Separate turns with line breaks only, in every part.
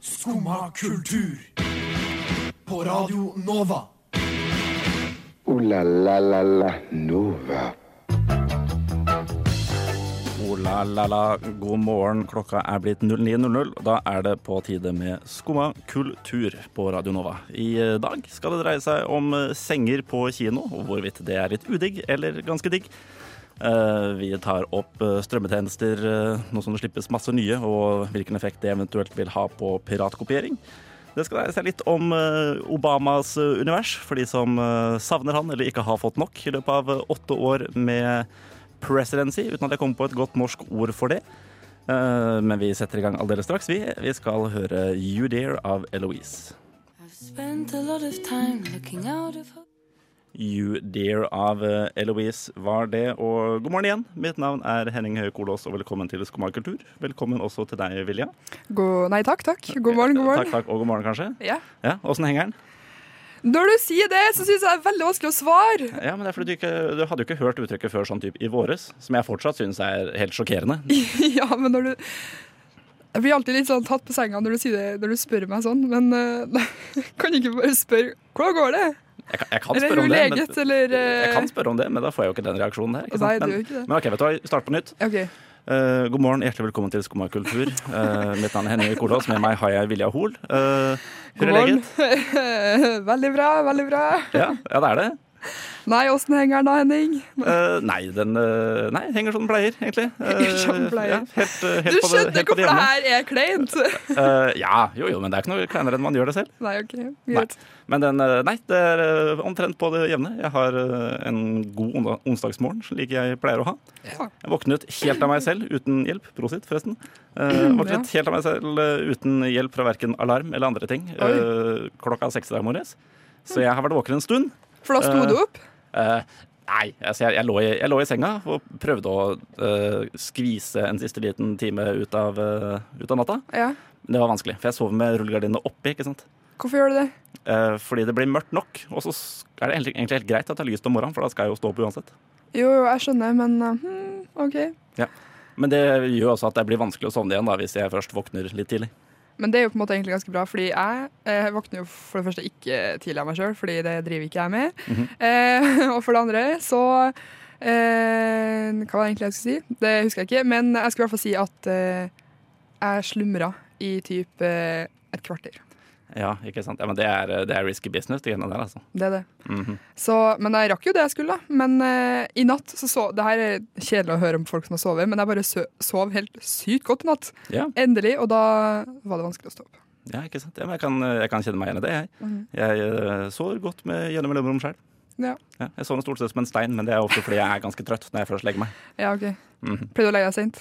Skumma kultur. På Radio Nova.
Ooh la la la la Nova.
Ola la la, god morgen. Klokka er blitt 09.00. og Da er det på tide med Skumma kultur på Radio Nova. I dag skal det dreie seg om eh, senger på kino, og hvorvidt det er litt udigg eller ganske digg. Eh, Vi tar opp eh, strømmetjenester eh, nå som det slippes masse nye, og hvilken effekt det eventuelt vil ha på piratkopiering. Det skal dreie seg litt om eh, Obamas eh, univers, for de som eh, savner han eller ikke har fått nok i løpet av eh, åtte år med presidency, uten at jeg kommer på et godt norsk ord for det. Eh, Men vi setter i gang aldeles straks. Vi, vi skal høre You Dear av Eloise.
Spent a lot of time looking out of
You Dear av eh, Eloise var det, og god morgen igjen. Mitt navn er Henning Høie Kolås, og velkommen til Skumma kultur. Velkommen også til deg, Vilja.
God, nei takk, takk. God morgen,
Takk,
god morgen.
takk, og god morgen, kanskje.
Ja.
Ja, Åssen henger den?
Når du sier det, så syns jeg det er veldig vanskelig å svare.
Ja, men det er fordi du, ikke, du hadde jo ikke hørt uttrykket før sånn typ i våres, som jeg fortsatt syns er helt sjokkerende.
Ja, men når du Jeg blir alltid litt sånn tatt på senga når du, sier det, når du spør meg sånn, men eh, kan du ikke bare spørre hvordan går det?
Jeg kan, jeg kan
Eller
spørre
hun
om det,
leget,
men,
eller
jeg kan
eh,
spørre om det, men da får jeg jo ikke den reaksjonen her. Ikke sant?
Nei, det
men,
gjør ikke det.
men OK, vet du hva, start på nytt.
OK.
Eh, god morgen, hjertelig velkommen til Skumma kultur. Eh, mitt navn er Henning Kolås, med meg har jeg Vilja Hoel. Eh,
God morgen. veldig bra, veldig bra.
Ja, ja, det er det.
Nei, åssen henger den da, Henning?
Eh, nei, den eh, nei, henger som den pleier, egentlig. Eh,
Henger som den pleier.
Ja, helt, eh, helt på
Du
det,
skjønner
helt på
hvorfor
det
det
hjemme.
her er kleint?
Eh, ja, jo, jo, men det er ikke noe kleinere enn man gjør det selv.
Nei, OK.
Nei.
Greit.
Men den, eh, nei, det er eh, omtrent på det jevne. Jeg har eh, en god on- onsdagsmorgen, slik jeg pleier å ha.
Ja.
Jeg våknet helt av meg selv, uten hjelp. Prosit, forresten. Eh, våknet helt av meg selv eh, uten hjelp fra verken alarm eller andre ting eh, klokka seks i dag morges. Så jeg har vært våken en stund.
For da sto
Eh,
du opp?
Eh, nei, altså jeg, jeg, lå i, jeg lå i senga og prøvde å eh, skvise en siste liten time ut av, eh, ut av natta.
Ja.
Men det var vanskelig, for jeg sov med rullegardinene oppi. ikke sant?
Hvorfor gjør du det?
Eh, fordi det blir mørkt nok, og så s- er det egentlig, egentlig helt greit at det er lyst om morgenen, for da skal jeg jo stå opp uansett.
Jo, jo, jeg skjønner, men eh, hmm, OK.
Men det gjør også at det blir vanskelig å sovne igjen da, hvis jeg først våkner litt tidlig.
Men det er jo på en måte egentlig ganske bra, fordi jeg eh, våkner jo for det første ikke tidlig av meg sjøl, fordi det driver ikke jeg med. eh, og for det andre så eh, Hva var det egentlig jeg skulle si? Det husker jeg ikke, men jeg skulle i hvert fall si at eh, jeg slumra i typ eh, et kvarter.
Ja, ikke sant? Ja, men det er, eh, det er risky business, det greiene der, altså.
Det er det.
Mhm.
Så, men jeg rakk jo det jeg skulle, da. Men eh, i natt så sov Det her er kjedelig å høre om folk som har sovet, men jeg bare sø sov helt sykt godt i natt.
Ja,
Endelig. Og da var det vanskelig å stå opp.
ja, ikke sant? Ja, men jeg kan, eh, jeg kan kjenne meg igjen i det, jeg. Jeg eh, sover godt med gjennom mellomrom selv.
Ja.
Ja, jeg sovner stort sett som en stein, men det er ofte fordi jeg er ganske trøtt når jeg først legger meg.
ja, OK.
Mhm.
Pleide du å legge deg seint?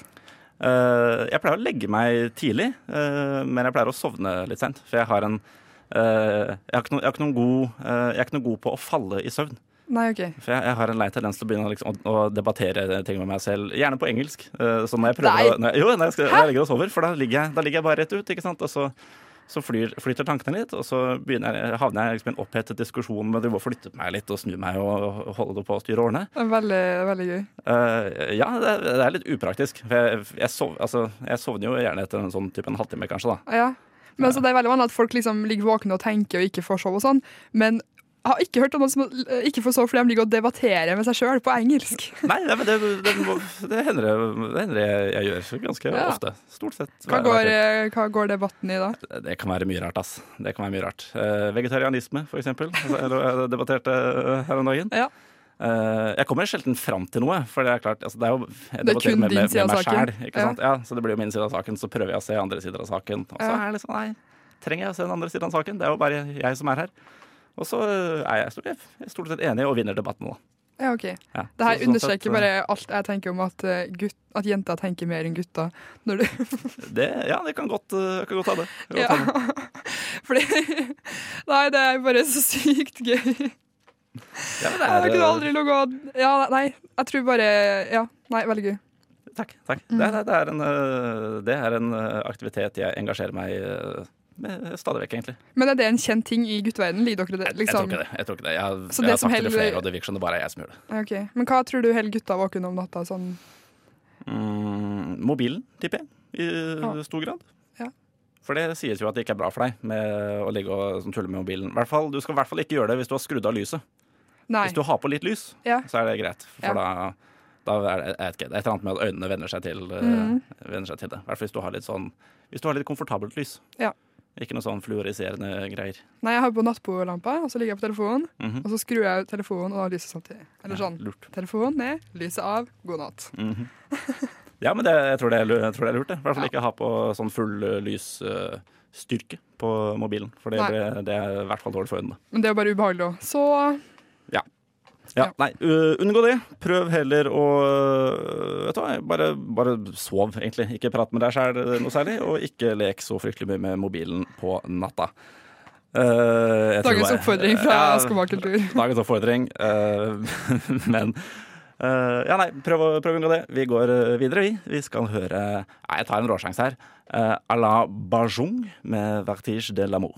Eh, jeg pleier å legge meg tidlig, eh, men jeg pleier å sovne litt sent. For jeg har en eh, jeg, har ikke noe, jeg, har ikke noen god, eh, jeg er ikke noe god på å falle i søvn.
Nei, OK.
For jeg, jeg har en lei tendens til å begynne å liksom, å, å debattere ting med meg selv, gjerne på engelsk. Eh, så når jeg prøver
Nei.
å, når jeg, Jo, når jeg, skal, når jeg ligger og sover, for da ligger jeg, da ligger jeg bare rett ut, ikke sant. Og så, så flyr, flyter tankene litt, og så begynner jeg, havner jeg liksom i en opphetet diskusjon med å drive og flytte meg litt og snu meg og, og holde det på å styre årene.
Det er Veldig, veldig gøy.
Eh, ja, det, er- det er litt upraktisk. For jeg, jeg, sov, altså, jeg sovner jo gjerne etter en sånn type en halvtime, kanskje. da.
Ja. Men altså, Det er veldig vanlig at folk liksom ligger våkne og tenker og ikke får sove og sånn. Men jeg har ikke hørt om noen som eh, ikke får sove fordi de ligger og debatterer med seg sjøl på engelsk.
Nei, nei, men det, det, må- det hender det, det, hender det jeg, jeg gjør ganske
Ja.
ofte. Stort sett.
Hva
hver-
går,
hver
eh, hva går debatten i da?
kveld. Det kan være mye rart, ass. Det kan være mye rart. Eh, vegetarianisme, for eksempel. Altså, jeg debatterte eh, her om dagen.
Ja.
Eh, jeg kommer sjelden fram til noe, for det er klart altså, Det er jo jeg
Det er
debatterer
kun
med,
din
med,
side
med
av
meg
saken.
selv, ikke
Ja.
sant? Ja, så det blir jo min side av saken. Så prøver jeg å se andre sider av saken. Og så
Ja.
er det liksom Nei, trenger jeg å se den andre siden av saken? Det er jo bare jeg som er her. Og så eh, er jeg stort, jeg er stort sett enig og vinner debatten, da.
Ja, ok. Det
Ja.
her
Så- sånn sett,
understreker bare alt jeg tenker om at, eh, gutt, at jenter tenker mer enn gutter. Når du,
eh, det, Ja, det kan godt, eh, kan godt ha det. Kan godt
ja.
ha det.
Fordi Nei, det er bare så sykt gøy.
Ja, men det er,
Jeg kunne
eh,
aldri ligget og Ja, nei. Jeg tror bare Ja, nei, veldig gøy.
Takk. takk.
Mm.
Det, er, det, er en, eh, det er en eh, aktivitet jeg engasjerer meg eh, med stadig vekk, egentlig.
Men er det en kjent ting i gutteverdenen? Liker dere det?
Jeg
Eh, Liksom?
tror ikke det. Jeg, tror ikke det. jeg, har-
Så det
jeg har sagt det
som
til
heller-
flere, og det virker som det bare er jeg som gjør det.
Ok, Men hva tror du holder gutta våkne om natta? sånn?
Mm, mobilen, tipper jeg, i
Ja.
stor grad.
Ja.
For det sies jo at det ikke er bra for deg med å ligge og sånn, tulle med mobilen. I hvert fall, du skal i hvert fall ikke gjøre det hvis du har skrudd av lyset.
Nei.
Hvis du har på litt lys,
Ja.
så er det greit. For
Ja.
da, da er det jeg vet ikke, det er et eller annet med at øynene venner seg til, eh,
Mm.
venner seg til det. I hvert fall hvis du har litt sånn Hvis du har litt komfortabelt lys.
Ja.
Ikke noe sånn fluoriserende greier.
Nei, jeg har på nattbordlampa, og så ligger jeg på telefonen.
Mhm.
Og så skrur jeg ut telefonen og lyset samtidig. Eller sånn.
Lurt.
Telefonen ned, lyset av, god natt.
Mm. Ja, men det, jeg, tror det er, lu- jeg tror det er lurt. det. I hvert fall ikke ha på sånn full eh, lysstyrke på mobilen. For det,
Nei.
blir- det er i hvert fall dårlig for øynene.
Men det er jo bare ubehagelig òg. Så
Ja,
Ja.
nei, u- Unngå det. Prøv heller å øh, vet du hva, bare, bare sov, egentlig. Ikke prat med deg sjæl noe særlig, og ikke lek så fryktelig mye med mobilen på natta. Eh, jeg tror
dagens
bare-
oppfordring fra
Ja,
Skoba kultur.
Dagens oppfordring. eh, men eh, Ja, nei, prøv å, prøv å unngå det. Vi går eh, videre, vi. Vi skal høre Nei, jeg tar en råsjanse her. Uh, à la Bajung med 'Vertige de l'amour'.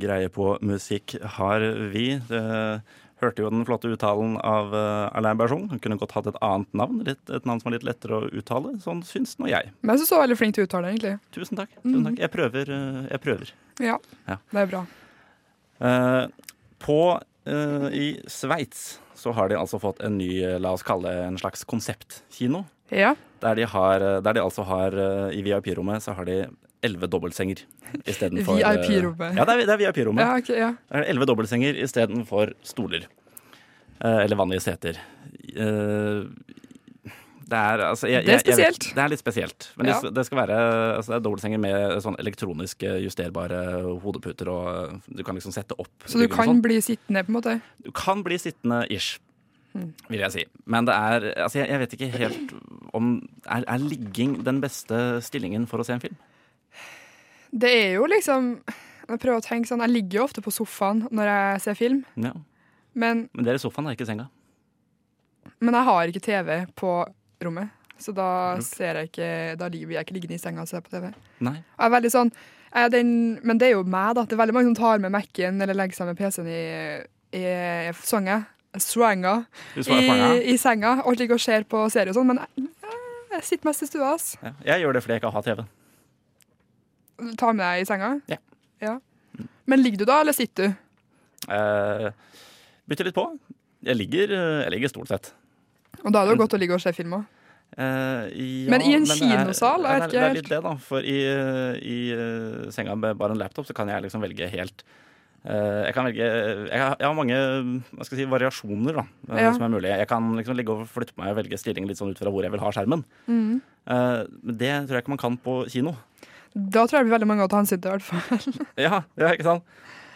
Greie på musikk har vi. Det hørte jo den flotte uttalen av eh, Alain Bergeon. Hun kunne godt hatt et annet navn, litt, et navn som var litt lettere å uttale. Sånn syns nå jeg.
Men jeg syns du var veldig flink til å uttale, egentlig.
Tusen takk. Tusen takk. Jeg prøver. eh, Jeg prøver.
Ja,
Ja.
det er bra.
Eh, På, eh, I Sveits så har de altså fått en ny, eh, la oss kalle det en slags konseptkino.
Ja.
Der de, har, eh, der de altså har, eh, i VIP-rommet, så har de elleve dobbeltsenger istedenfor eh,
VIP-rommet.
Ja, det er, det er VIP-rommet.
Ja, ok, ja.
Det er elleve dobbeltsenger istedenfor stoler. Eh, eller vanlige seter. Eh, det er, altså, jeg,
Det er
jeg- jeg vet-
spesielt.
det er litt spesielt. Men
Ja.
det, det skal være altså, det er dobbeltsenger med sånn elektroniske justerbare hodeputer, og eh, du kan liksom sette opp
Så du
ryggen og sånn.
kan bli sittende, på en måte?
Du kan bli sittende ish, vil jeg si. Men det er altså, jeg, jeg vet ikke helt om er, er ligging den beste stillingen for å se en film?
Det er jo liksom Jeg prøver å tenke sånn Jeg ligger jo ofte på sofaen når jeg ser film,
Ja.
men,
Men det er i sofaen, det er ikke i senga.
men jeg har ikke TV på rommet. Så da ser jeg ikke Da blir jeg ikke liggende i senga og se på TV.
Nei.
Jeg er veldig sånn jeg er den, Men det er jo meg, da. Det er veldig mange som tar med Mac-en eller legger seg med PC-en i, i songa. Swanga.
Du svarer på den, ja.
I, I senga. Og ligger og ser på serier og sånn. Men jeg, jeg sitter mest i stua, ass.
ja. Jeg gjør det fordi jeg ikke har TV.
Ta med deg i senga?
Ja.
Ja. Men ligger du da, eller sitter du?
Eh, bytter litt på. Jeg ligger, eh, jeg ligger stort sett.
Og da er det jo godt å ligge og se film òg.
Eh, ja,
Men i en
det er-
kinosal,
det, er,
jeg vet ikke
det er
helt.
litt det, da. For i, eh, i eh, senga med bare en laptop, så kan jeg liksom velge helt eh, jeg kan velge Jeg har, jeg har mange hva skal jeg si, variasjoner da, eh,
Ja.
som er mulige. Jeg kan liksom ligge og flytte på meg og velge stilling litt sånn ut fra hvor jeg vil ha skjermen.
Mm.
Eh, men det tror jeg ikke man kan på kino.
Da tror jeg det blir veldig mange å ta hensyn til, i hvert fall.
Ja, ja ikke sant?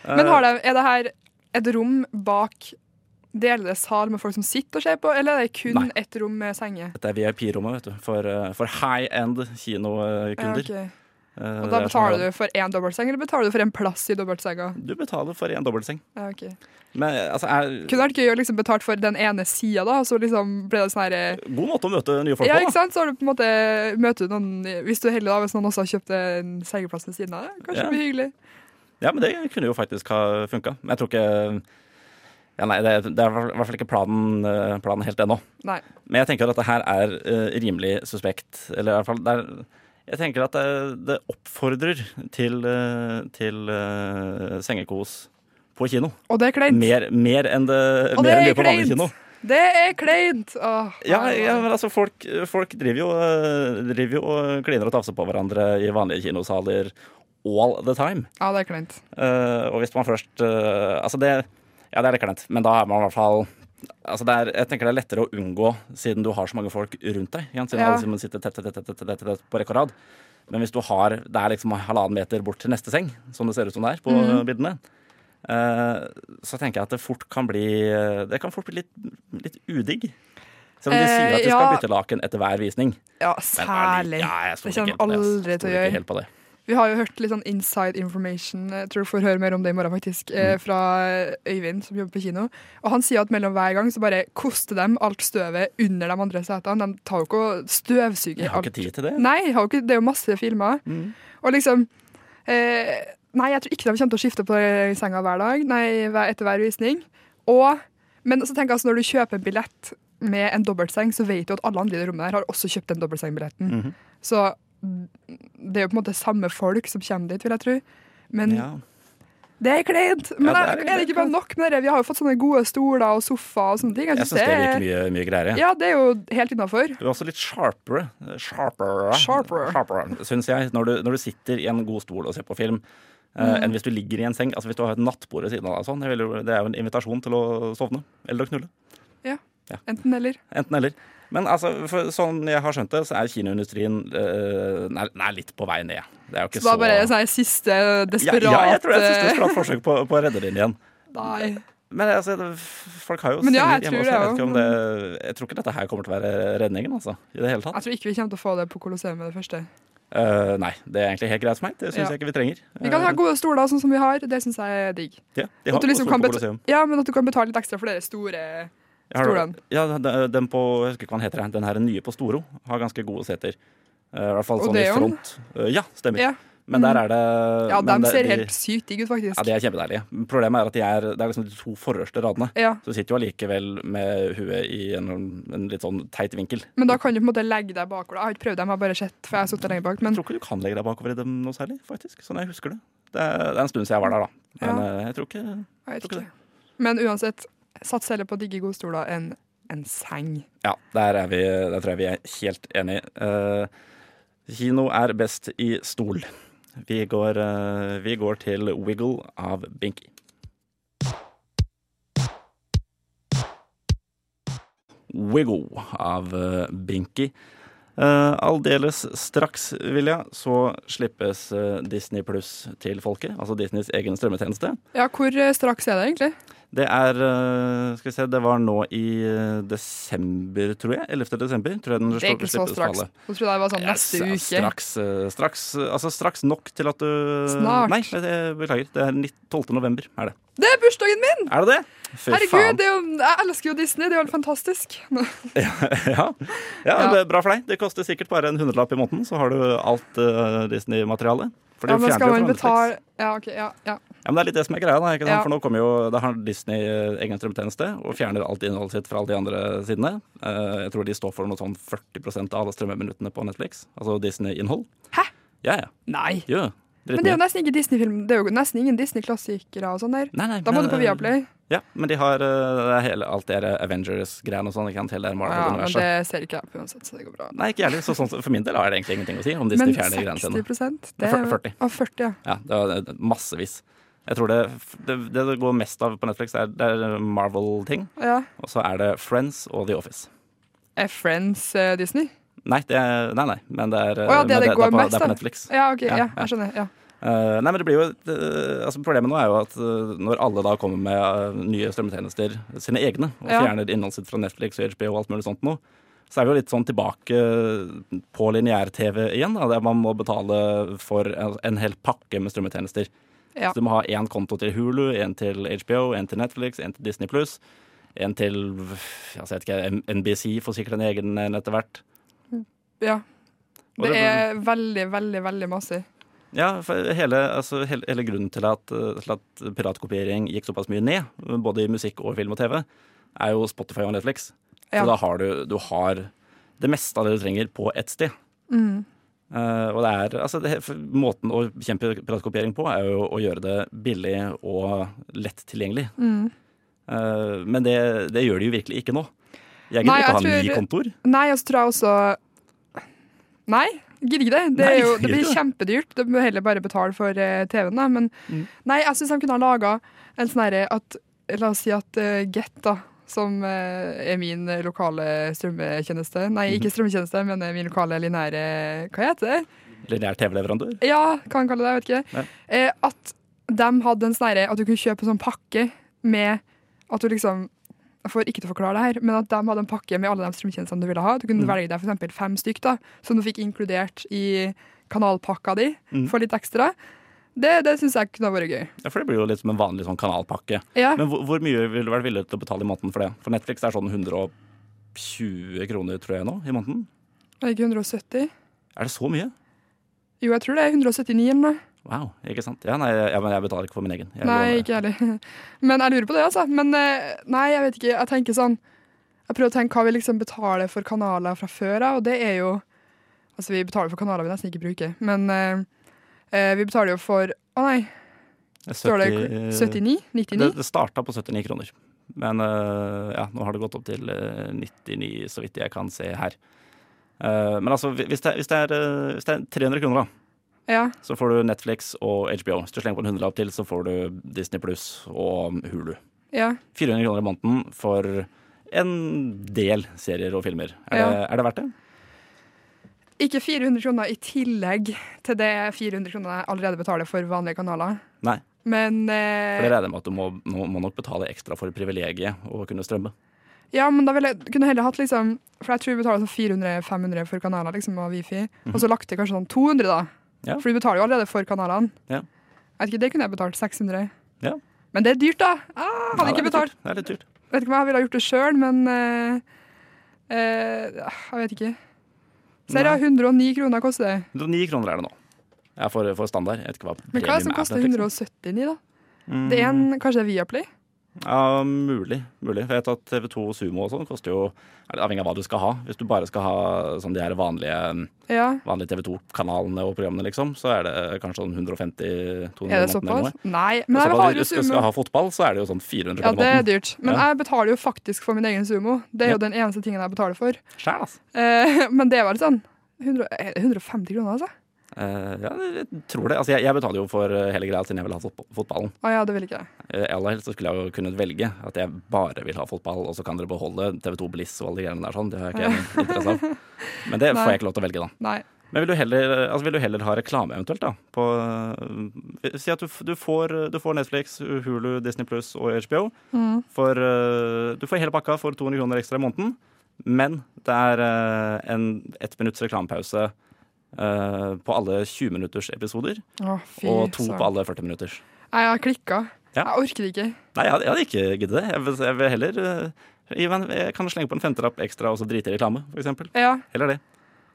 Eh,
Men har det, er det her et rom bak Deler det sal med folk som sitter og ser på, eller er det kun
Nei.
et rom med senger?
Eh, Dette er VIP-rommet, vet du. For, eh, for high end kinokunder.
Ja, ok.
Eh, det er som
Og da
å-
betaler du for én dobbeltseng, eller betaler du for en plass i dobbeltsenga?
Du betaler for en dobbeltseng.
Ja, ok.
Men altså, er,
Kunne vært gøy å liksom betale for den ene sida, da, og så liksom ble det sånn her eh,
god måte å møte nye folk
Ja,
på,
ikke
da.
sant? Så har du på en måte møter du noen Hvis du er heldig, da, hvis noen også har kjøpt en sengeplass ved siden av det. Kanskje
Ja.
det blir hyggelig.
Ja, men det kunne jo faktisk ha funka. Men jeg tror ikke ja, nei, det, det er i hvert fall ikke planen, eh, planen helt ennå.
Nei.
Men jeg tenker at det her er eh, rimelig suspekt. Eller i hvert fall det er, Jeg tenker at det, det oppfordrer til, eh, til eh, sengekos på kino.
Og det er kleint.
Mer, mer enn det,
Og det
mer enn
er
det på vanlig
kleint.
kino.
Det er kleint! Åh,
Ja,
nei,
ja,
nei.
men altså folk, folk driver jo eh, driver jo og kliner og tafser på hverandre i vanlige kinosaler all the time.
ja, det er kleint.
Eh, og hvis man først eh, Altså, det Ja, det er litt kleint, men da er man i hvert fall Altså, det er, jeg tenker det er lettere å unngå siden du har så mange folk rundt deg. ikke sant? Siden
Ja.
alle sammen sitter tett, tett, tett, tett, tett, tett på rekke og rad. Men hvis du har Det er liksom halvannen meter bort til neste seng, som det ser ut som det er på
Mhm.
eh, bildene. eh, så tenker jeg at det fort kan bli Det kan fort bli litt, litt udigg. Selv om de sier at du skal
Eh, ja.
bytte laken etter hver visning.
Ja,
Men ærlig,
særlig.
Ja, jeg stoler
Det kommer
ikke helt på det, ass.
aldri til å
Stoler ikke
gjøre.
helt på det.
Vi har jo hørt litt sånn inside information, jeg tror du får høre mer om det i morgen faktisk,
Mm.
eh, fra Øyvind som jobber på kino. Og han sier at mellom hver gang så bare koster dem alt støvet under de andre setene. De tar jo ikke og støvsuger
Jeg har ikke
alt.
tid til det.
Nei, har jo ikke, det er jo masse filmer.
Mm.
Og liksom eh, Nei, jeg tror ikke de kommer til å skifte på senga hver dag, nei, hver- etter hver visning. Og, men så tenker jeg altså, når du kjøper en billett med en dobbeltseng, så vet du at alle andre i det rommet her har også kjøpt den dobbeltsengbilletten.
Mhm.
Så mm, det er jo på en måte samme folk som kommer dit, vil jeg tro. Men
Ja.
det er kleint! Men
det er
er,
kleint,
er, det ikke bare nok med det? Vi har jo fått sånne gode stoler og sofaer og sånne ting.
Jeg syns det virker mye, mye greiere.
Ja, det er jo helt innafor.
Du er også litt sharpere, sharpere,
Sharpere.
synes jeg, når du, når du sitter i en god stol og ser på film,
Mm.
eh, enn hvis du ligger i en seng. Altså Hvis du har et nattbord ved siden av deg, og sånn, jeg vil jo- det er jo en invitasjon til å sovne eller å knulle.
Enten eller.
Enten eller. Men altså, for, sånn jeg har skjønt det, så er kinoindustrien eh, den er- den er litt på vei ned. Det er jo ikke
Så da
så,
bare er det sånn eh, siste
ja,
desperat
ja, jeg tror det er et siste desperat forsøk på, på å redde den igjen.
eh, Nei.
Men altså, det- folk har jo
Men
senger
ja, jeg
hjemme
tror
også. Jeg, vet
det
ikke om
jo,
det, jeg tror ikke dette her kommer til å være redningen, altså. I det hele tatt.
Jeg tror ikke vi kommer til å få det på Colosseum med det første.
Eh, nei, det er egentlig helt greit for meg. Det syns
Ja.
jeg ikke vi trenger.
Vi kan
Eh,
ha gode stoler sånn som vi har, det syns jeg er digg.
Ja, de har
At du liksom
Oslo
kan
på
bet-
Colosseum.
Ja, men at du kan betale litt ekstra for det store
Jeg har-
Stolen.
Ja, den- eh, den på, jeg husker ikke hva den heter, den her nye på Storo har ganske gode seter. Eh, I hvert fall sånn i
Odeon?
front. Eh, Ja, stemmer.
Ja,
Men
Mm.
der er det
ja
Eh, men
de
det-
ser
de-
helt sykt digg ut, faktisk.
Ja, de er kjempedeilige. Problemet er at de er, det er liksom de to forreste radene.
Ja,
Så du sitter jo allikevel med huet i en, en litt sånn teit vinkel.
Men da kan du på en måte legge deg bakover. Jeg har ikke prøvd dem, jeg har bare sett, for jeg har sittet lenge bak. Men
Jeg tror ikke du kan legge deg bakover i dem noe særlig, faktisk. Sånn jeg husker det. Det er, det er en stund siden jeg var der, da. Men eh, jeg tror ikke
jeg vet
tror
ikke.
ikke
Men uansett, sats heller på digge gode stoler enn en seng.
Ja, der, er vi, der tror jeg vi er helt enige. Eh, kino er best i stol. Vi går, eh, vi går til Wiggle av Binky. Wiggle av eh, Binky. Eh, aldeles straks, Vilja, så slippes eh, Disney Pluss til folket. Altså Disneys egen strømmetjeneste.
Ja, hvor eh, straks er det egentlig?
Det er eh, Skal vi se, det var nå i eh, desember, tror jeg. 11. desember. Tror jeg den
Det er ikke så
slippes på
straks.
alle.
Nå trodde jeg det var sånn
Ja, s-
neste uke.
Straks, eh, straks, eh, altså straks nok til at du
Snart.
Nei, det, det- beklager. Det er 19 12. november. Er det
Det er bursdagen min!
Er det? det? Fy
Herregud, det er jo, jeg elsker jo Disney. Det er jo helt fantastisk.
Ja. Ja,
Ja.
det er Bra for deg. Det koster sikkert bare en hundrelapp i måneden, så har du alt eh, Disney-materialet. For
Ja,
de
men
fjerner
skal
jo
man
fra Netflix.
betale Ja, OK. Ja. ja.
Ja, men Det er litt det som er greia. Da, ikke sant?
Ja.
For nå kommer jo, da har Disney eh, egen strømmetjeneste og fjerner alt innholdet sitt fra alle de andre sidene. Eh, jeg tror de står for noe sånn 40 av alle strømmeminuttene på Netflix. Altså Disney-innhold.
Hæ?
Ja, ja.
Nei.
Jo,
Men det er jo nesten ikke Disney-film. Det er jo nesten ingen Disney-klassikere og sånn der.
Nei, nei,
Da må
men, eh,
du på Viaplay.
Ja, men de har eh, det er hele, alt det der Avengers-greiene og sånn. ikke sant? Hele det
Ja, men
Marvel-universet.
det ser ikke jeg på uansett, så det går bra.
Nei, ikke jeg heller. Så sånn, for min del har det egentlig ingenting å si om Disney
Men
fjerner greiene
60
sine.
det er
40.
Å, 40, ja.
Ja, det er massevis. Jeg tror det, det, det det går mest av på Netflix, er, det er Marvel-ting.
ja.
Og så er det Friends og The Office.
Er Friends eh, Disney?
Nei, det er, nei, nei, men det er,
Å ja, det
Eh, men
det
er
går
på,
mest
det er på
av.
Netflix.
Ja, ok,
Ja,
ja,
ja.
jeg skjønner. Ja.
Eh, nei, men det blir jo et, eh, altså Problemet nå er jo at eh, når alle da kommer med eh, nye strømmetjenester, sine egne, og
Ja.
fjerner innholdet sitt fra Netflix og HBO og alt mulig sånt nå, så er vi jo litt sånn tilbake eh, på lineær-TV igjen, da, der man må betale for en en hel pakke med strømmetjenester.
Ja.
Så du må ha én konto til Hulu, én til HBO, én til Netflix, én til Disney pluss. En til jeg vet ikke, M- NBC får sikkert en egen en etter hvert.
ja.
Og
Det
det-
er veldig, veldig, veldig masse.
Ja, for hele, altså, hele, hele grunnen til at, eh, til at piratkopiering gikk såpass mye ned, både i musikk og film og TV, er jo Spotify og Netflix.
Ja.
Så da har du, du har det meste av det du trenger på ett sted.
Mm.
Eh, og det er, altså, det, for måten å bekjempe piratkopiering på er jo å gjøre det billig og lett tilgjengelig.
Mm.
Eh, men det, det gjør de jo virkelig ikke nå. Jeg gidder
Nei,
ikke å ha
jeg
ni
tror-
kontor.
Nei, og så tror jeg også Nei, gidder ikke det. Det,
Nei,
er jo, det
gidder
blir
ikke det.
kjempedyrt. Du må heller bare betale for eh, TV-en, da. Men nei, jeg syns de kunne ha laga en sånn herre at La oss si at eh, Get, da, som eh, er min eh, lokale strømmetjeneste Nei, ikke strømmetjeneste, men eh, min lokale lineære Hva heter det?
Lineær TV-leverandør.
Ja, hva han kaller det, jeg vet ikke. Eh, at de hadde en sånn herre at du kunne kjøpe en sånn pakke med at du liksom jeg får ikke til å forklare det her, men at de hadde en pakke med alle de strømtjenestene du ville ha. Du
Mm.
kunne velge deg for eksempel fem stykk, da, som du fikk inkludert i kanalpakka di
Mm.
for litt ekstra. Det, det syns jeg kunne vært gøy.
Ja, for det blir jo litt som en vanlig sånn kanalpakke.
Ja,
Men hvor, hvor mye ville du vært villig til å betale i måneden for det? For Netflix er sånn 120 kroner, tror jeg nå, i måneden.
er det ikke 170?
Er det så mye?
Jo, jeg tror det er 179 eller noe.
Wow, ikke sant? Ja, nei, ja, men jeg betaler ikke for min egen. Jeg
Nei,
låner.
ikke jeg heller. Men jeg lurer på det, altså. Men eh, nei, jeg vet ikke. Jeg tenker sånn Jeg prøver å tenke hva vi liksom betaler for kanaler fra før av, og det er jo Altså, vi betaler for kanaler vi nesten ikke bruker, men eh, eh, vi betaler jo for Å nei, står det
70
79?
Det,
99?
eh, det starta på 79 kroner. Men eh, ja, nå har det gått opp til eh, 99, så vidt jeg kan se her. Eh, men altså, hvis det, hvis, det er, eh, hvis det er 300 kroner, da,
Ja.
så får du Netflix og HBO. Hvis du slenger på en hundrelapp til, så får du Disney pluss og Hulu.
ja.
400 kroner i måneden for en del serier og filmer. Er,
Ja.
det, er det verdt det?
Ikke 400 kroner i tillegg til det 400 kroner jeg allerede betaler for vanlige kanaler.
Nei.
Men
For det
eh,
regner jeg med at du må, nå må nok betale ekstra for privilegiet å kunne strømme.
Ja, men da ville jeg kunne heller hatt liksom For jeg tror vi betaler sånn 400-500 for kanaler liksom, og wifi. Og så lagt til kanskje sånn 200, da.
Mhm. Ja.
For du betaler jo allerede for kanalene.
Ja.
Jeg vet ikke, Det kunne jeg betalt 600.
Ja.
Men det er dyrt, da!
Ja,
Ah, hadde
det er
ikke
litt
betalt.
dyrt. Det er litt dyrt.
Vet ikke om jeg ville ha gjort det sjøl, men eh, eh, Jeg vet ikke. Ser jeg 109 kroner koster det.
109 kroner er det nå. Jeg får, får standard. Jeg vet ikke hva
Men hva er det som koster 179, da? Det er
Mm.
en, kanskje det er Viaplay?
Ja, mulig. mulig. For jeg vet at TV2 og Sumo og sånn koster jo er det Avhengig av hva du skal ha. Hvis du bare skal ha sånn de her vanlige,
Ja.
vanlige TV2-kanalene og programmene, liksom, så er det kanskje sånn 150-200
Er det såpass? Nei. Men jeg har
Altså,
jo
hvis du skal
Sumo.
ha fotball, så er det jo sånn 400
Ja,
kroner
det er
måneden.
dyrt. Men
Ja.
jeg betaler jo faktisk for min egen Sumo. Det er jo den eneste tingen jeg betaler for.
Skjær, altså.
Eh, men det var litt sånn 100, eh, 150 kroner, altså?
Eh, ja, jeg tror det. Altså, jeg, jeg betaler jo for hele greia siden jeg vil ha fotball- fotballen.
Å ja, det vil ikke jeg.
Eh, Eller helst så skulle jeg jo kunnet velge at jeg bare vil ha fotball, og så kan dere beholde TV2 Bliss og alle de greiene der sånn. Det har jeg ikke interesse av. Men det får jeg ikke lov til å velge, da.
Nei.
Men vil du heller, altså vil du heller ha reklame eventuelt, da? På, øh, si at du, f- du, får, du får Netflix, Hulu, Disney Pluss og HBO.
Mm.
For, øh, du får hele pakka for 200 kroner ekstra i måneden. Men det er øh, en ett minutts reklamepause øh, på alle 20 minutters episoder.
Å, fy
og to på
søren.
alle 40 minutters.
Nei, Jeg har klikka.
Ja.
Jeg orker det ikke.
Nei, jeg hadde, jeg hadde ikke giddet det. Jeg vil, jeg vil heller øh, gi meg en- Jeg kan slenge på en femtelapp ekstra og så drite i reklame, for eksempel.
Ja,
Heller det.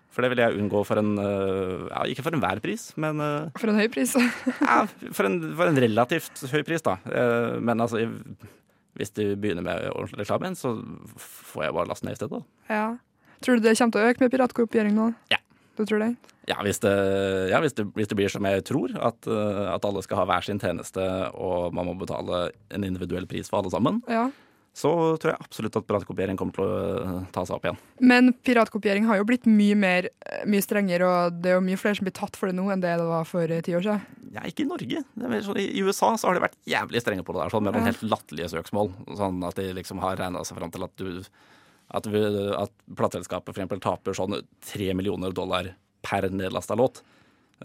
For det vil jeg unngå for en øh, ja, Ikke for enhver pris, men øh,
for en høy pris.
Ja, for en, for en relativt høy pris, da. Eh, Men altså, i- hvis du begynner med ordentlig reklame, så får jeg bare laste ned i stedet. da.
ja. Tror du det kommer til å øke med piratkopiering nå?
Ja.
Du tror det?
Ja, hvis det, ja hvis, det, hvis det blir som jeg tror, at, eh, at alle skal ha hver sin tjeneste, og man må betale en individuell pris for alle sammen,
Ja.
så tror jeg absolutt at piratkopiering kommer til å eh, ta seg opp igjen.
Men piratkopiering har jo blitt mye, mer, eh, mye strengere, og det er jo mye flere som blir tatt for det nå enn det det var for eh, ti år siden.
Ja, ikke i Norge. Det er mer sånn, I USA så har de vært jævlig strenge på det der, sånn med noen helt latterlige søksmål. Sånn at de liksom har regna seg fram til at du At, vi- at plateselskapet for eksempel taper sånn tre millioner dollar per nedlasta låt.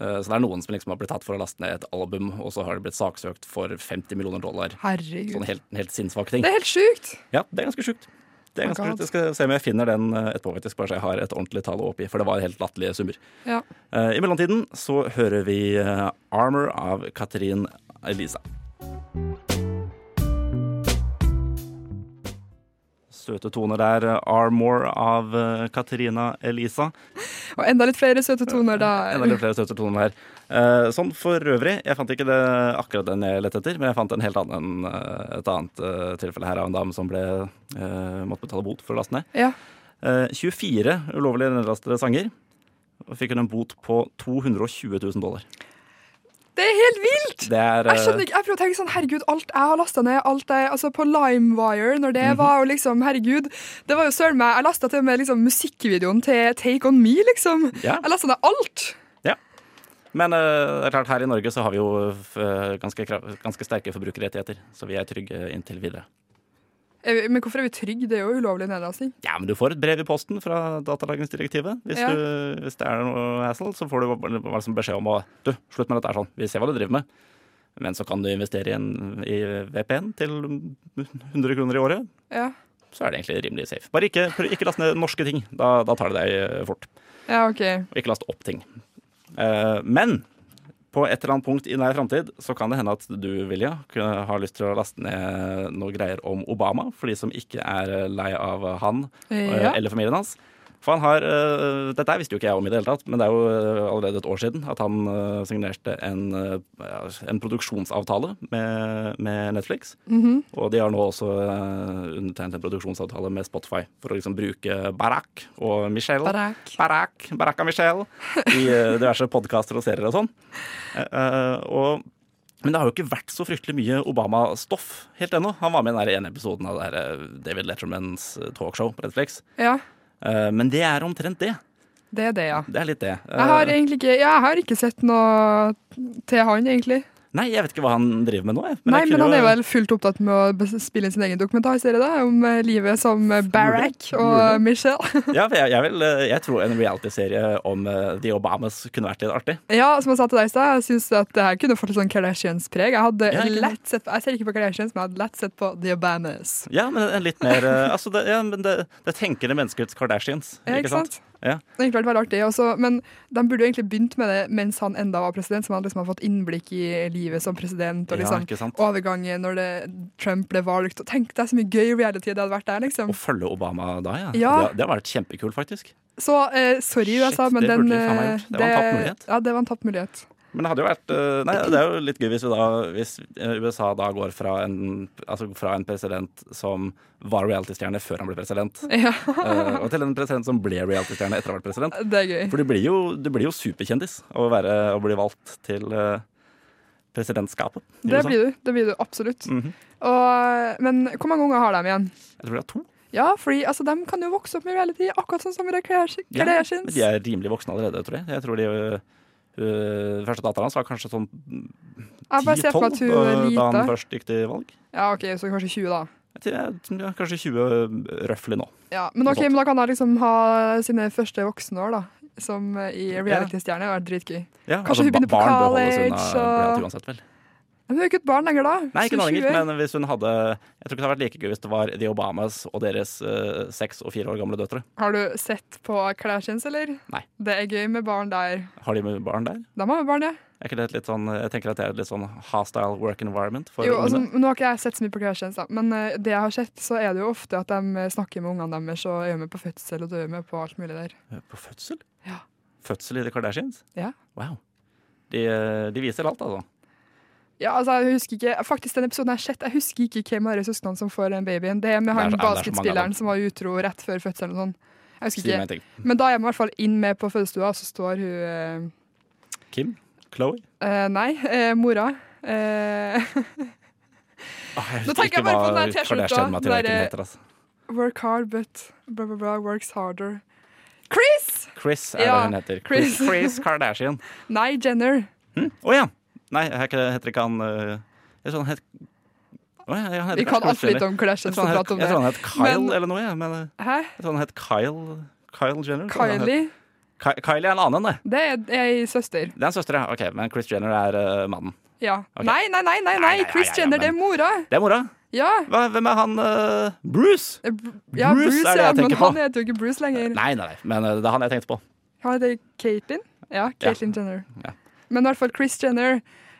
Eh, Så det er noen som liksom har blitt tatt for å laste ned et album, og så har de blitt saksøkt for 50 millioner dollar.
Herregud.
Sånn helt, helt sinnssvak ting.
Det er helt sjukt!
Ja, det er ganske sjukt. Det er
Oh my
ganske
God.
sjukt. Jeg skal se om jeg finner den eh, etterpå, faktisk, bare så jeg har et ordentlig tall å oppgi, for det var helt latterlige summer.
Ja.
Eh, I mellomtiden så hører vi eh, Armor av Katrin Elisa. Søte toner der. eh, Armor av eh, Katrina Elisa.
Og enda litt flere søte toner da.
Enda litt flere søte toner her. Eh, Sånn for øvrig, jeg fant ikke det, akkurat den jeg lette etter, men jeg fant en helt annen, eh, et annet eh, tilfelle her av en dame som ble, eh, måtte betale bot for å laste ned.
Ja.
Eh, 24 ulovlige nedlastede sanger. Og fikk hun en bot på 220 000 dollar.
Det er helt vilt!
Det er eh,
Jeg skjønner ikke, jeg prøver å tenke sånn, herregud, alt jeg har lasta ned alt jeg, altså På LimeWire,
Mhm.
når det var jo liksom Herregud, det var jo søren meg Jeg lasta til og med liksom, musikkvideoen til Take On Me, liksom.
Ja.
Jeg lasta ned alt!
eh, Men eh, det er klart, her i Norge så har vi jo eh, ganske, krav- ganske sterke forbrukerrettigheter, så vi er trygge inntil videre.
Er vi- Men hvorfor er vi trygge? Det er jo ulovlig nedlasting.
Ja, men du får et brev i posten fra datalagringsdirektivet. Hvis,
Ja.
du, hvis det er noe hassle, så får du bare- bare liksom beskjed om å Du, slutt med dette her sånn. Vi ser hva du driver med. Men så kan du investere i, en, i VPN til 100 kroner i året.
Ja.
så er det egentlig rimelig safe. Bare ikke, prøv- ikke last ned norske ting. Da, da tar det deg eh, fort.
Ja, OK.
Og ikke laste opp ting. Eh, men på et eller annet punkt i nær framtid så kan det hende at du, Vilja, kunne- har lyst til å laste ned noe greier om Obama, for de som ikke er lei av han eh,
Ja.
eller familien hans. For han har, eh, Dette her visste jo ikke jeg om i det hele tatt, men det er jo eh, allerede et år siden at han eh, signerte en, eh, ja, en produksjonsavtale med, med Netflix. Og de har nå også eh, undertegnet en produksjonsavtale med Spotify for å liksom bruke Barack og Michelle.
Barak.
Barack, Barack og Michelle i eh, diverse podkaster og serier og sånn. Eh, eh, og, men det har jo ikke vært så fryktelig mye Obama-stoff helt ennå. Han var med i den der ene episoden av det der, eh, David Lettermans eh, talkshow på Netflix.
Ja,
Eh, men det er omtrent det.
det er det, ja.
Det er litt det. Eh,
Jeg har egentlig ikke, jeg har ikke sett noe til han, egentlig.
Nei, jeg vet ikke hva han driver med nå. Jeg.
Nei,
jeg
men
kunne
han er
jo-
vel fullt opptatt med å bes- spille inn sin egen dokumentarserie da, om eh, livet som eh, Barack og eh, Michelle.
ja, for jeg, jeg, vil, eh, jeg tror en reality-serie om eh, The Obamas kunne vært litt artig.
Ja, som jeg sa til deg i stad, jeg syns at det her kunne fått litt sånn Kardashians-preg. Jeg hadde
Ja, ikke
lett sett på, jeg ser ikke på Kardashians, men jeg hadde lett sett på The Obamas.
Ja, men en litt mer eh, Altså, det, ja, men det, det tenkende menneskets Kardashians.
Ja, ikke sant?
Ja.
Det har egentlig vært veldig artig, også, men de burde jo egentlig begynt med det mens han enda var president, så man liksom har fått innblikk i livet som president, og
Ja,
liksom
ikke sant?
overgangen når det, Trump ble valgt. Og tenk deg så mye gøy reality det hadde vært der, liksom.
Å følge Obama da, ja.
Ja.
Det, det har vært kjempekult, faktisk.
Så eh, sorry,
Shit,
USA, men
det
den
burde vi faen meg
eh,
gjort. Det var en tapt mulighet.
Ja, det var en tapt mulighet.
Men det hadde jo vært eh, Nei, det er jo litt gøy hvis, vi da, hvis eh, USA da går fra en, altså fra en president som var reality-stjerne før han ble president,
Ja,
eh, og til en president som ble reality-stjerne etter å ha vært president.
det er gøy.
For du blir jo, du blir jo superkjendis av å, være, å bli valgt til eh, presidentskapet. i
Det
USA.
blir du. Det blir du absolutt.
Mhm.
og, men hvor mange unger har de igjen?
Jeg tror det er to.
Ja, fordi altså, de kan jo vokse opp med reality, akkurat sånn som i Kardashians.
Ja, men de er rimelig voksne allerede, tror jeg. Jeg tror de eh, eh, første datteren hans var kanskje sånn
Jeg bare ser for meg at
10-12 da,
hun
eh, da
er
han
lita.
først gikk til valg.
Ja, OK, så kanskje 20, da.
Jeg tror jeg- ja, Kanskje 20 røffelig nå.
Ja, men
Noe
ok,
sånt.
men da kan jeg liksom ha sine første voksenår da Som eh, i reality-stjerne Det har vært dritgøy Men
Ja, altså,
Kanskje hun begynner på
barn beholdes
college,
unna
og-
reality uansett, vel.
hun er jo ikke et barn lenger da
Nei, ikke nå
så 20
lenger, men hvis hun hadde Jeg tror ikke det hadde vært like gøy hvis det var The Obamas og deres eh, seks og fire år gamle døtre.
Har du sett på Kardashians, eller?
Nei.
Det er gøy med barn der
Har de med barn der?
De har jo barn, ja
Er ikke det et litt sånn, jeg tenker at det er et litt sånn hostile work environment for
jo, altså,
ungene.
Nå har ikke jeg sett så mye på Kardashians da Men eh, det jeg har sett, så er det jo ofte at de eh, snakker med ungene deres Og er jo med på fødsel, og de er jo med på alt mulig der
På fødsel?
Ja.
Fødsel i The Kardashians?
Ja.
Wow. De, eh, de viser alt, altså.
Ja, altså, jeg husker ikke Faktisk, den episoden jeg har sett, jeg husker ikke hvem av de søsknene som får den babyen. Det er med
er
han
så- det er så mange av dem.
basketspilleren som var utro rett før fødselen og sånn. Jeg husker
Si meg
ikke.
en ting.
Men da er man i hvert fall inn med på fødestua, og så står hun eh,
Kim? Chloé?
eh, Nei, eh, mora. Eh,
Ah, jeg
Nå
husker
tenker jeg
ikke
bare på
hva
den der T-skjorta, den
Kardashian-matriarken
der-
heter. Altså.
work hard, but blah, blah, blah, works harder. Chris!
Chris er
Ja,
det hun heter.
Chris. Mm.
Chris Kardashian.
Nei, Jenner.
Å ja! Nei, er ikke- heter ikke han eh, Jeg tror han het Å ja, han heter
Vi kan
kanskje Chris
altfor litt
Jenner.
om
Jeg
Kardashians
tror
for å
han het,
prate om
jeg tror
det.
han het Kyle
Men-
eller noe, jeg. Men eh,
Hæ?
jeg tror han het Kyle Kyle Jenner. tror jeg han het.
Kylie?
Ki Kylie er en annen, det.
Det er ei søster.
Det er en søster, ja. Ok, Men Chris Jenner er eh, mannen.
Ja.
Ok.
Nei, nei, nei, nei, nei,
nei,
Chris
nei, nei,
Jenner, det
men-
er mora.
Det er mora.
Ja.
Hva, hvem er han eh, Bruce?
Eh, Br- Ja,
Bruce
Bruce,
er det
ja,
jeg
men
tenker på.
han heter jo ikke Bruce lenger.
Nei, nei, nei. Men eh, det er han jeg tenkte på.
Han heter Caitlyn. Ja, Caitlyn Jenner.
Ja.
Men i hvert fall Chris Jenner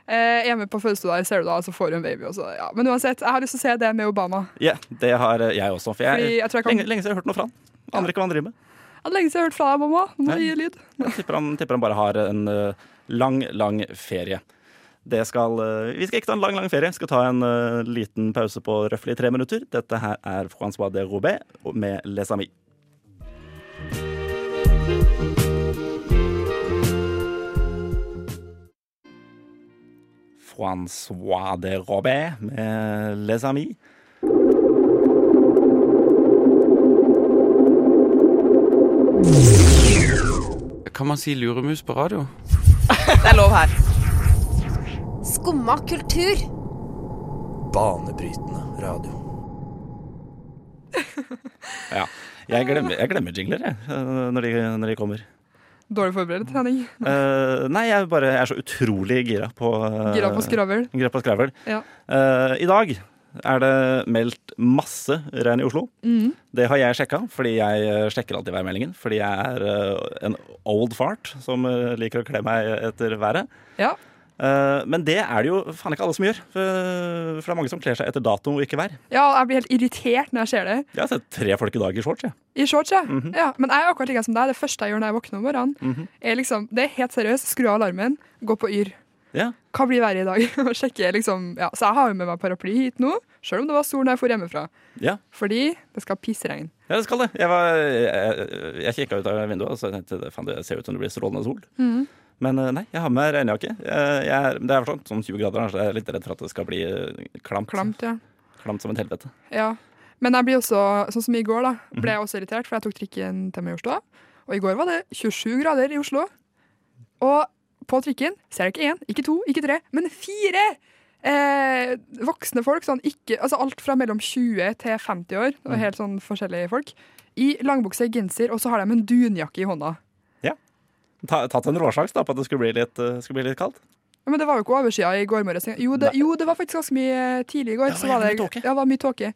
eh, er med på fødestua der, ser du da, så får hun baby også. Ja. Men uansett, jeg har lyst til å se det med Obama.
Ja, Det har eh, jeg også. For jeg,
Fordi jeg tror jeg kan-
lenge, lenge siden jeg har hørt noe fra han. Aner ikke hva han driver med.
Jeg hadde lenge siden jeg har hørt fra deg, mamma. Nå må
Nei.
du gi lyd.
Jeg tipper han, tipper han bare har en eh, lang, lang ferie. Det skal, eh, vi skal ikke ta en lang lang ferie. Vi skal ta en eh, liten pause på røftlig tre minutter. Dette her er Francois de Robet med Les Amis. Francois de Robet med Les Amis.
Kan man si luremus på radio?
Det er lov her.
Skumma kultur.
Banebrytende radio.
Ja. Jeg glemmer, jeg glemmer jingler, jeg, eh, når de, når de kommer.
Dårlig forberedt, Henning.
Eh, nei, jeg, bare, jeg er så utrolig gira på eh,
Gira på skravel.
Gira på skravel.
Ja.
Eh, I dag er det meldt masse regn i Oslo. Det har jeg sjekka, fordi jeg eh, sjekker alltid værmeldingen. Fordi jeg er eh, en old fart som eh, liker å kle meg etter været.
Ja.
Eh, Men det er det jo faen ikke alle som gjør. eh, For for det er mange som kler seg etter dato og ikke vær.
ja, jeg blir helt irritert når jeg ser det.
Jeg har sett tre folk i dag i shorts. Jeg.
I shorts, ja.
Mhm.
ja. Men jeg er akkurat like som deg. Det første jeg gjør når jeg våkner om morgenen, er liksom, det er helt seriøst, skru av alarmen, gå på Yr.
Ja.
Hva blir været i dag? Og sjekke, liksom, ja. Så jeg har jo med meg paraply hit nå, selv om det var sol når jeg for hjemmefra.
Ja.
Fordi det skal pissregn.
Ja, det skal det. Jeg, var- jeg, jeg kikka ut av vinduet og så tenkte jeg, faen, det ser ut som det blir strålende sol. Men eh, nei, jeg har med regnjakke. Eh, Jeg er, det er forstått som 20 grader, så jeg er litt redd for at det skal bli eh, klamt.
Klamt, ja.
Klamt som et helvete.
Ja. Men jeg blir også, sånn som i går, da, ble jeg også irritert, for jeg tok trikken til Majorstua. Og i går var det 27 grader i Oslo. Og på trikken ser jeg ikke én, ikke to, ikke tre, men fire! Eh, voksne folk, sånn ikke, altså alt fra mellom 20 til 50 år, og helt sånn forskjellige folk, i langbukse, genser, og så har de en dunjakke i hånda.
Ta, tatt en råsjans da, på at det skulle bli litt, eh, skulle bli litt kaldt.
Ja, Men det var jo ikke overskya i går morges. Jo, det-
Nei.
jo, det var faktisk ganske mye tidlig i går.
Det var
så var
jævlig
det,
mye tåke.
Ja, det var mye tåke.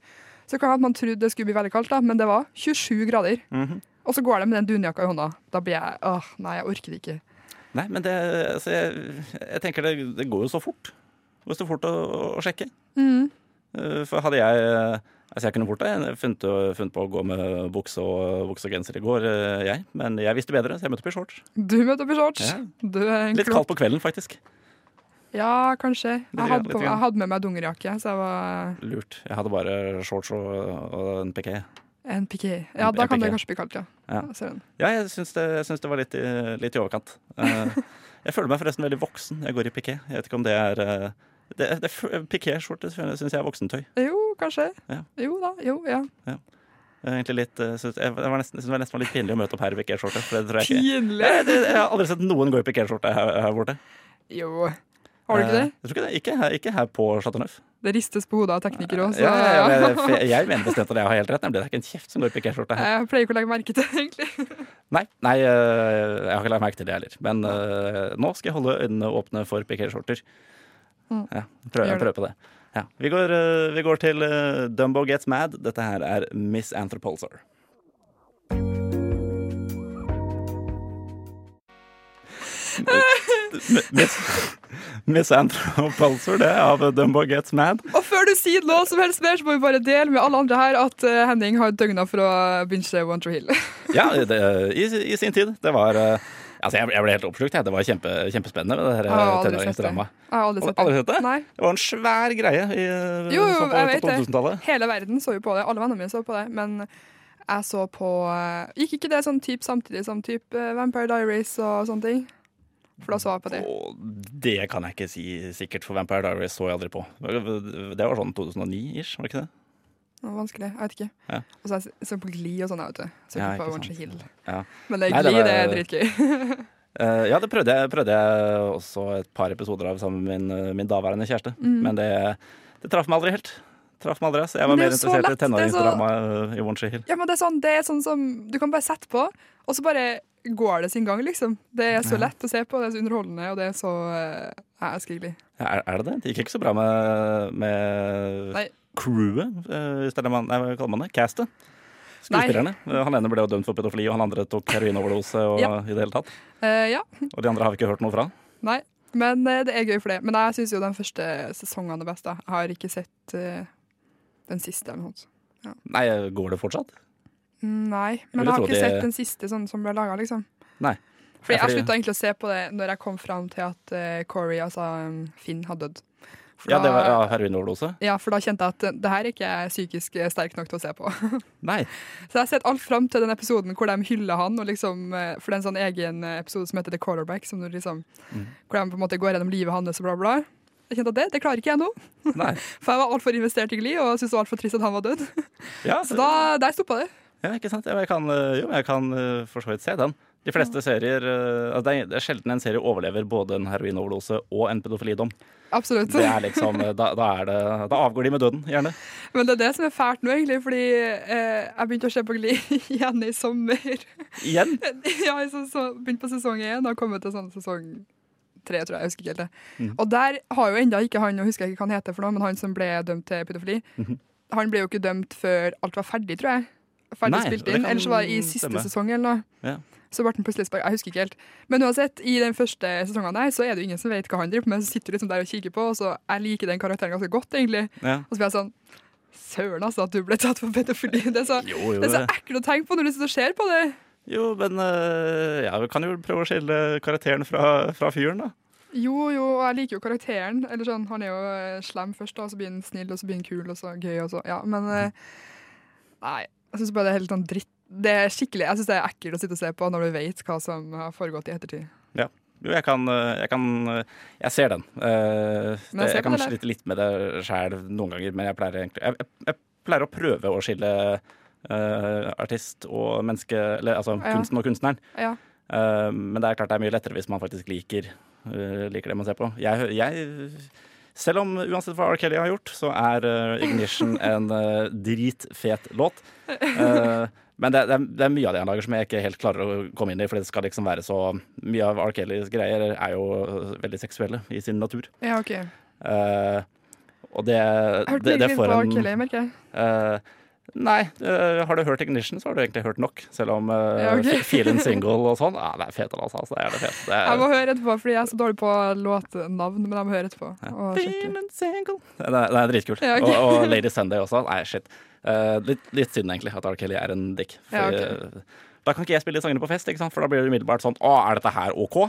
Så kan det være at man trodde det skulle bli veldig kaldt, da, men det var 27 grader.
Mhm.
Og så går de med den dunjakka i hånda. Da blir jeg åh, nei, jeg orker det ikke.
Nei, men det, altså, jeg, jeg tenker det, det går jo så fort. Det går så fort å, å sjekke. Eh, For hadde jeg Altså, jeg kunne fort det. Funnet, funnet på å gå med bukse og, bukse og genser i går, eh, jeg. Men jeg visste bedre, så jeg møtte opp i shorts.
Du møter opp i shorts.
Ja.
Du er en
Litt
klok-
kaldt på kvelden, faktisk.
Ja, kanskje.
grann,
Jeg hadde,
litt
på, jeg
grann.
hadde med meg dungerjakke, så jeg var
Lurt. Jeg hadde bare shorts og, og en piké.
en piké. Ja,
En-
da
en
kan det
piké.
kanskje bli kaldt, ja.
Ja.
Ja, ser den.
Ja, jeg syns det, jeg syns det var litt i, litt i overkant. Eh, jeg føler meg forresten veldig voksen. Jeg går i piké. Jeg vet ikke om det er eh, det, det, Pikéskjorte syns jeg er voksentøy.
Jo, kanskje.
Ja.
Jo da. Jo, ja.
Jeg er Egentlig litt, eh, synes, jeg var nesten, synes det var nesten litt pinlig å møte opp her i pikéskjorte. for det tror jeg ikke-
Pinlig!
Jeg, jeg har aldri sett noen gå i pikéskjorte her, her borte.
Jo. Har du ikke
Eh,
det?
Jeg tror ikke det. Ikke her, ikke her på Chateau Neuf.
Det ristes på hodet av teknikere òg, så
Ja, ja, ja, men for jeg, jeg mener bestemt at jeg har helt rett. Nemlig, det er ikke en kjeft som går i pikéskjorte her.
Jeg pleier ikke å legge merke til det, egentlig.
Nei, nei, eh, jeg har ikke lagt merke til det heller. Men eh, nå skal jeg holde øynene åpne for pikéskjorter.
Mm.
Ja, prøv,
Gjør det.
prøv på det. Ja. Vi, går, eh, vi går til eh, Dumbo Gets Mad. Dette her er Miss Anthropolsar. Miss, Miss Anthropolsar, det, av Dumbo Gets Mad.
Og før du sier noe som helst mer, så må vi bare dele med alle andre her at eh, Henning har døgna for å binge One Tree Hill.
Ja, det, i, i sin tid. Det var eh, Altså, jeg, jeg ble helt oppslukt, jeg. Det var kjempe, kjempespennende. med Det her,
Jeg har
eh,
aldri sett det.
tenåringsdramaet.
Jeg har aldri
Har
sett
du
det.
aldri sett det?
Nei.
Det var en svær greie i,
Jo, jo,
sånn på,
jeg
på
vet det.
2000-tallet.
Hele verden så jo på det. Alle vennene mine så på det. Men jeg så på eh, Gikk ikke det sånn typ samtidig som typ eh, Vampire Diaries og sånne ting? For da så jeg på det.
Og det kan jeg ikke si sikkert, for Vampire Diaries så jeg aldri på. Det var sånn 2009-ish, var det ikke det?
Det var vanskelig. Jeg vet ikke.
Ja.
Og så jeg så på Glee og sånn, jeg, vet du. Så
Ja,
ikke på
ikke
One Tree
sant.
Hill.
Ja.
Men det,
Nei, det
Glee, det er
var-
dritgøy.
Eh, ja, det prøvde jeg, prøvde jeg også et par episoder av sammen med min, eh, min daværende kjæreste. Men det, det traff meg aldri helt. Traff meg aldri, altså. Jeg var
Mm. Men det
mer
er jo så
interessert i
lett, det er så-
tenåringsdrama eh, i One Tree Hill.
Ja, men det er sånn, det er sånn som du kan bare sette på, og så bare går det sin gang, liksom. Det er så lett å se på, det er så underholdende, og det er så eh, ja, Jeg skriver.
Ja, Er, er det det? Det gikk ikke så bra med, med
Nei.
crewet, eh, hvis det er det man nei, hva kaller man det? Castet. Skuespillerne. Eh, Han ene ble jo dømt for pedofili, og han andre tok heroinoverdose. Og,
Ja.
i det hele tatt.
Eh, ja,
og de andre har vi ikke hørt noe fra.
nei. Men eh, det er gøy for det. Men jeg syns jo den første sesongen er best. da. Jeg har ikke sett eh, den siste. eller noe sånt.
Nei, går det fortsatt?
Nei,
ville
men jeg har
tro
ikke
det-
sett den siste sånn som ble laga, liksom.
Nei.
Fordi
Ja, fordi-
jeg slutta egentlig å se på det når jeg kom fram til at eh, Corey, altså um, Finn, hadde dødd. For
Ja,
da-
det var ja, heroinoverdose?
ja, for da kjente jeg at eh, det her er ikke jeg psykisk eh, sterk nok til å se på.
Nei.
Så jeg har sett alt fram til den episoden hvor de hyller han, og liksom, eh, for det er en sånn egen eh, episode som heter The Quarterback, som du liksom,
Mm.
hvor de på en måte går gjennom livet hans og bla bla. Jeg kjente at det, det klarer ikke jeg nå,
Nei.
for jeg var altfor investert i Glee, og syntes det var altfor trist at han var død.
Ja,
Så da, der stoppa det.
ja, ikke sant? Ja, Jeg kan, eh, jo, jeg kan eh, for så vidt se den. De fleste serier, eh, altså det er- det er sjelden en serie overlever både en heroinoverdose og en pedofilidom.
Absolutt.
Det er liksom, eh, da, da, er det, da avgår de med døden, gjerne.
Men det er det som er fælt nå, egentlig, fordi eh, jeg begynte å se på Glee igjen i sommer.
Igjen.
ja, jeg så, så, begynte på sesong én og har kommet til sånn sesong tre, tror jeg. jeg husker ikke helt det.
Mm.
Og der har jo enda ikke han, og husker jeg ikke hva han heter for noe, men han som ble dømt til pedofili,
Mhm.
han ble jo ikke dømt før alt var ferdig, tror jeg. Ferdig
Nei,
spilt
det
inn.
kan
Eller så var det i siste
stemme.
sesong eller noe.
Ja.
Så ble han plutselig sparket. Jeg husker ikke helt. Men uansett, i den første sesongen der, så er det jo ingen som vet hva han driver på med, så sitter du liksom der og kikker på, og så jeg liker den karakteren ganske godt, egentlig.
Ja.
Og så blir jeg sånn Søren, altså, at du ble tatt for pedofili. Det er så,
Jo, jo,
det er så ekkelt å tenke på når du sitter og ser på det.
jo, men eh, ja, vi kan jo prøve å skille karakteren fra, fra fyren, da.
Jo, jo, og jeg liker jo karakteren. Eller sånn, Han er jo eh, slem først, da, og så blir han snill, og så blir han kul, og så gøy, og så Ja, men eh, Nei. Jeg syns bare det er helt sånn dritt. Det er skikkelig, Jeg syns det er ekkelt å sitte og se på når du vet hva som har foregått i ettertid.
Jo, jeg kan, eh, jeg kan eh, Jeg ser den. Eh,
Men
det,
ser
jeg
på
kan
det der.
slite litt med det sjæl noen ganger, men jeg pleier egentlig jeg, jeg, jeg pleier å prøve å skille eh, artist og menneske, eller altså
Ja.
kunsten og kunstneren.
Ja.
Eh, men det er klart det er mye lettere hvis man faktisk liker, eh, liker det man ser på. Jeg, hø- jeg selv om uansett hva R. Kelly har gjort, så er eh, Ignition en eh, dritfet låt. Eh, men det, det, er, det er mye av det han lager som jeg ikke helt klarer å komme inn i. For det skal liksom være så Mye av R. Kellys greier er jo eh, veldig seksuelle i sin natur.
ja, OK.
Eh, og det,
Jeg hørte
det, det
litt på
får
R.
en
Kelly, merker jeg.
Eh, nei, eh, har du hørt Ignition, så har du egentlig hørt nok. Selv om eh,
Ja, ok.
Feelin Single og sånn, ja, det er fete, altså. Det er det fete. Det
Jeg
er,
må høre etterpå, fordi jeg er så dårlig på låtnavn. Men jeg må høre etterpå. Og sjekke.
Feelin Single. Det er, det er dritkult.
Ja, ok.
og, og Lady Sunday også. Nei, shit. Eh, litt, litt synd egentlig at R. Kelly er en dick. For,
Ja, ok.
eh, Da kan ikke jeg spille de sangene på fest, ikke sant? for da blir det umiddelbart sånn Å, er dette her OK?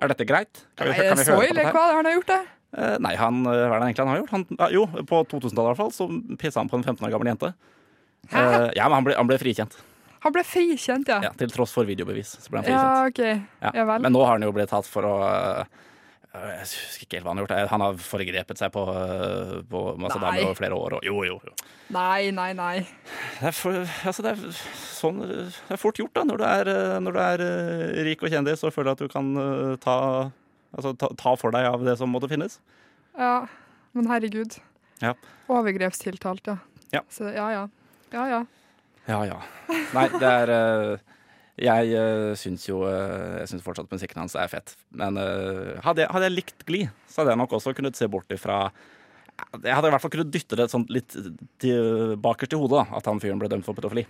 Er dette greit? Kan vi,
Nei,
kan vi
så
høre på
ille?
dette her?
Hva har han gjort, da?
Eh, nei, han, eh, hva er det egentlig han har gjort? Han, ja, jo, på 2000-tallet i hvert fall, så pissa han på en 15 år gammel jente. Eh, ja, men han ble, han ble frikjent.
Han ble frikjent, ja.
Ja, til tross for videobevis. Så ble han
Ja,
frikjent.
OK.
Ja.
Ja vel.
Men nå har han jo blitt tatt for å øh, jeg husker ikke helt hva han har gjort. Eh, Han har foregrepet seg på, øh, på masse
Nei.
damer over flere år. Og, jo, jo, jo.
Nei, nei, nei.
Det er, for, altså det, er sånn, det er fort gjort, da. Når du er, øh, når du er øh, rik og kjendis og føler at du kan øh, ta, altså, ta, ta for deg av det som måtte finnes.
Ja, men herregud.
Ja.
Overgrepstiltalt, ja.
Ja.
Så, ja, ja. Ja, ja.
Ja, ja. Nei, det er øh, Jeg øh, syns jo øh, Jeg syns fortsatt musikken hans er fett. Men øh, hadde, jeg, hadde jeg likt Gli, så hadde jeg nok også kunnet se bort ifra Jeg hadde i hvert fall kunnet dytte det sånn litt til, bakerst i hodet, da, at han fyren ble dømt for pedofili.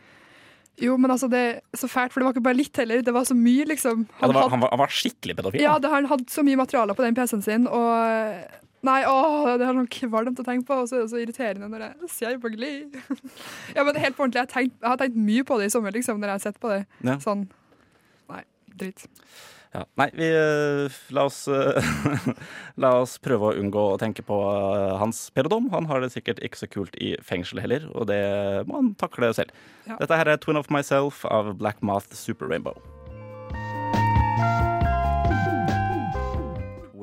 Jo, men altså, det er så fælt, for det var ikke bare litt heller. Det var så mye, liksom.
Ja, det var,
hadde-
han, var, han var skikkelig pedofil.
ja,
da.
det, han hadde så mye materiale på den PC-en sin, og Nei, åh, det er sånn kvalmt å tenke på, og så er det så irriterende når jeg ser på Gli. ja, men helt på ordentlig, jeg, har tenkt- jeg har tenkt mye på det i sommer, liksom, når jeg har sett på det.
Ja.
Sånn Nei, dritt.
Ja. Nei, vi øh, la oss øh, La oss prøve å unngå å tenke på øh, hans pedodom. Han har det sikkert ikke så kult i fengsel heller, og det må han takle selv.
Ja.
Dette her er Twin of Myself av Black Moth Super Rainbow.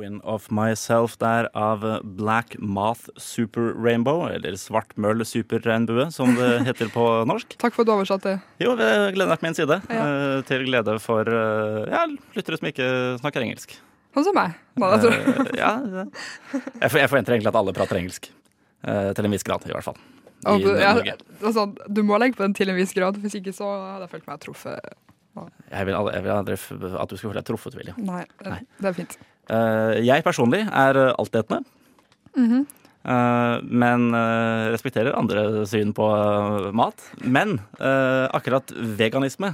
Twin of Myself der av Black Moth Super Rainbow, eller Svartmøll Superregnbue, som det heter på norsk.
Takk for at du oversatte.
Jo, ved gleden er på min side.
Ja.
eh, Til glede for eh, ja, lyttere som ikke snakker engelsk.
Sånn som meg. Nei, jeg tror.
Eh, ja, ja. Jeg for- jeg forventer egentlig at alle prater engelsk. Eh, Til en viss grad, i hvert fall. I
Og, du- ja,
Norge.
altså, du må legge på den til en viss grad, hvis ikke så hadde jeg følt meg truffet.
Jeg vil, aldri, jeg vil aldri f- at du skal føle deg truffet, William.
Nei,
Nei.
det er fint.
Eh, jeg personlig er eh, altetende.
Mm-hmm.
Eh, men eh, respekterer andre syn på eh, mat. Men eh, akkurat veganisme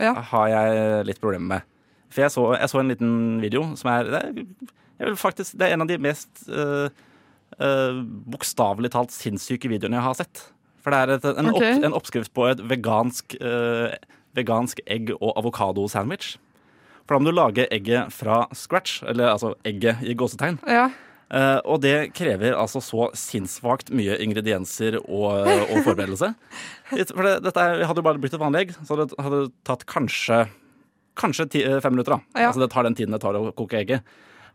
Ja.
har jeg litt problemer med. For jeg så, jeg så en liten video som er, det er jeg vil faktisk, Det er en av de mest eh, eh, bokstavelig talt sinnssyke videoene jeg har sett. For det er et, en,
Ok.
opp, en oppskrift på et vegansk, eh, vegansk egg- og avokadosandwich. For da må du lage egget fra scratch, eller altså egget i gåsetegn.
Ja.
Eh, og det krever altså så sinnssvakt mye ingredienser og, og forberedelse. Litt- For det, dette er- hadde jo bare blitt et vanlig egg, så det hadde tatt kanskje, kanskje ti, eh, fem minutter. da.
Ja.
Altså Det tar den tiden det tar å koke egget.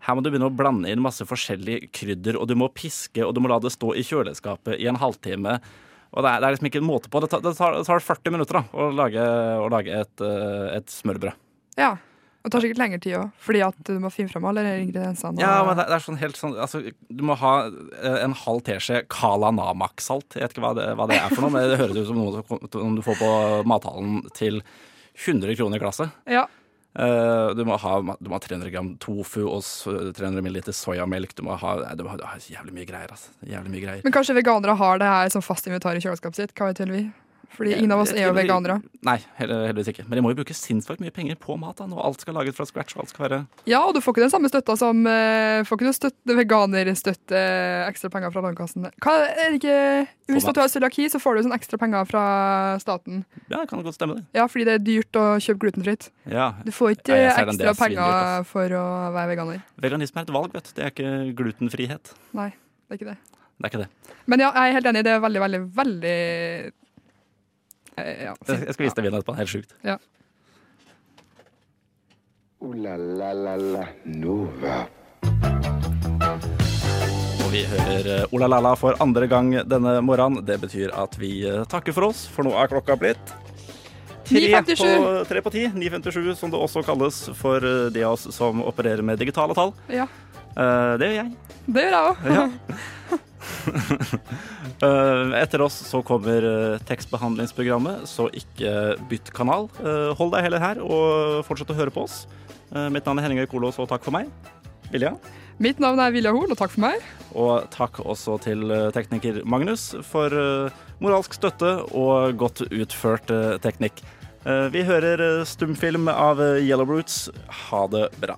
Her må du begynne å blande inn masse forskjellige krydder, og du må piske, og du må la det stå i kjøleskapet i en halvtime. Og det er, det er liksom ikke en måte på. Det tar, det tar, det tar 40 minutter da, å lage, å lage et, eh, et smørbrød.
ja. Og det tar sikkert lengre tid òg, fordi at du må finne fram alle de ingrediensene. og-
Ja, men det, det er sånn helt sånn altså, Du må ha eh, en halv teskje Kala Namak-salt. Jeg vet ikke hva det, hva det er for noe, men det høres ut som noe som kom- som du får på mathallen til 100 kroner i glasset.
ja.
Eh, Eh, du, må ha, du må ha 300 gram tofu og s- 300 ml soyamelk. Du må ha, nei, du må ha, du har jævlig mye greier. Altså. Jævlig mye greier.
Men kanskje veganere har det her som fast inventar i kjøleskapet sitt? Hva vet vel vi? Fordi ingen av oss er jo veganere.
Nei, heller- heldigvis ikke. Men jeg må jo bruke sinnssykt mye penger på mat. da, Når alt skal lages fra scratch. og alt skal være...
Ja, og du får ikke den samme støtta som eh, Får ikke du støtte, veganerstøtte, ekstra penger fra Landkassen? Hva, er det ikke Hvis
Få
at du har cøliaki, så får du sånn ekstra penger fra staten.
Ja, det kan godt stemme, det.
Ja, fordi det er dyrt å kjøpe glutenfritt.
Ja,
Du får ikke
Ja, jeg ser den, det er svindyrt,
ekstra
ass.
penger for å være veganer.
Veganisme er et valg, vet du. Det er ikke glutenfrihet.
Nei, det er ikke det.
Det er ikke det.
Men ja, jeg er helt enig. Det er veldig, veldig, veldig eh, ja,
Jeg jeg skal vise deg videoen etterpå. Helt sjukt.
Ooh la la la la Nova.
Og vi hører eh, Ola Lala for andre gang denne morgenen. Det betyr at vi eh, takker for oss, for nå er klokka blitt Tre
9.57.
på, tre på ti. 9.57, som det også kalles for eh, de av oss som opererer med digitale tall.
ja.
Eh, Det gjør jeg.
Det gjør jeg òg.
Ja. Eh, Etter oss så kommer eh, tekstbehandlingsprogrammet, så ikke bytt kanal. Eh, Hold deg heller her, og fortsett å høre på oss. Eh, Mitt navn er Henning Øykolås, og takk for meg. Vilja.
Mitt navn er Vilja Horn, og takk for meg.
Og takk også til eh, tekniker Magnus for eh, moralsk støtte og godt utført eh, teknikk. Eh, Vi hører eh, stumfilm av eh, Yellow Roots. Ha det bra.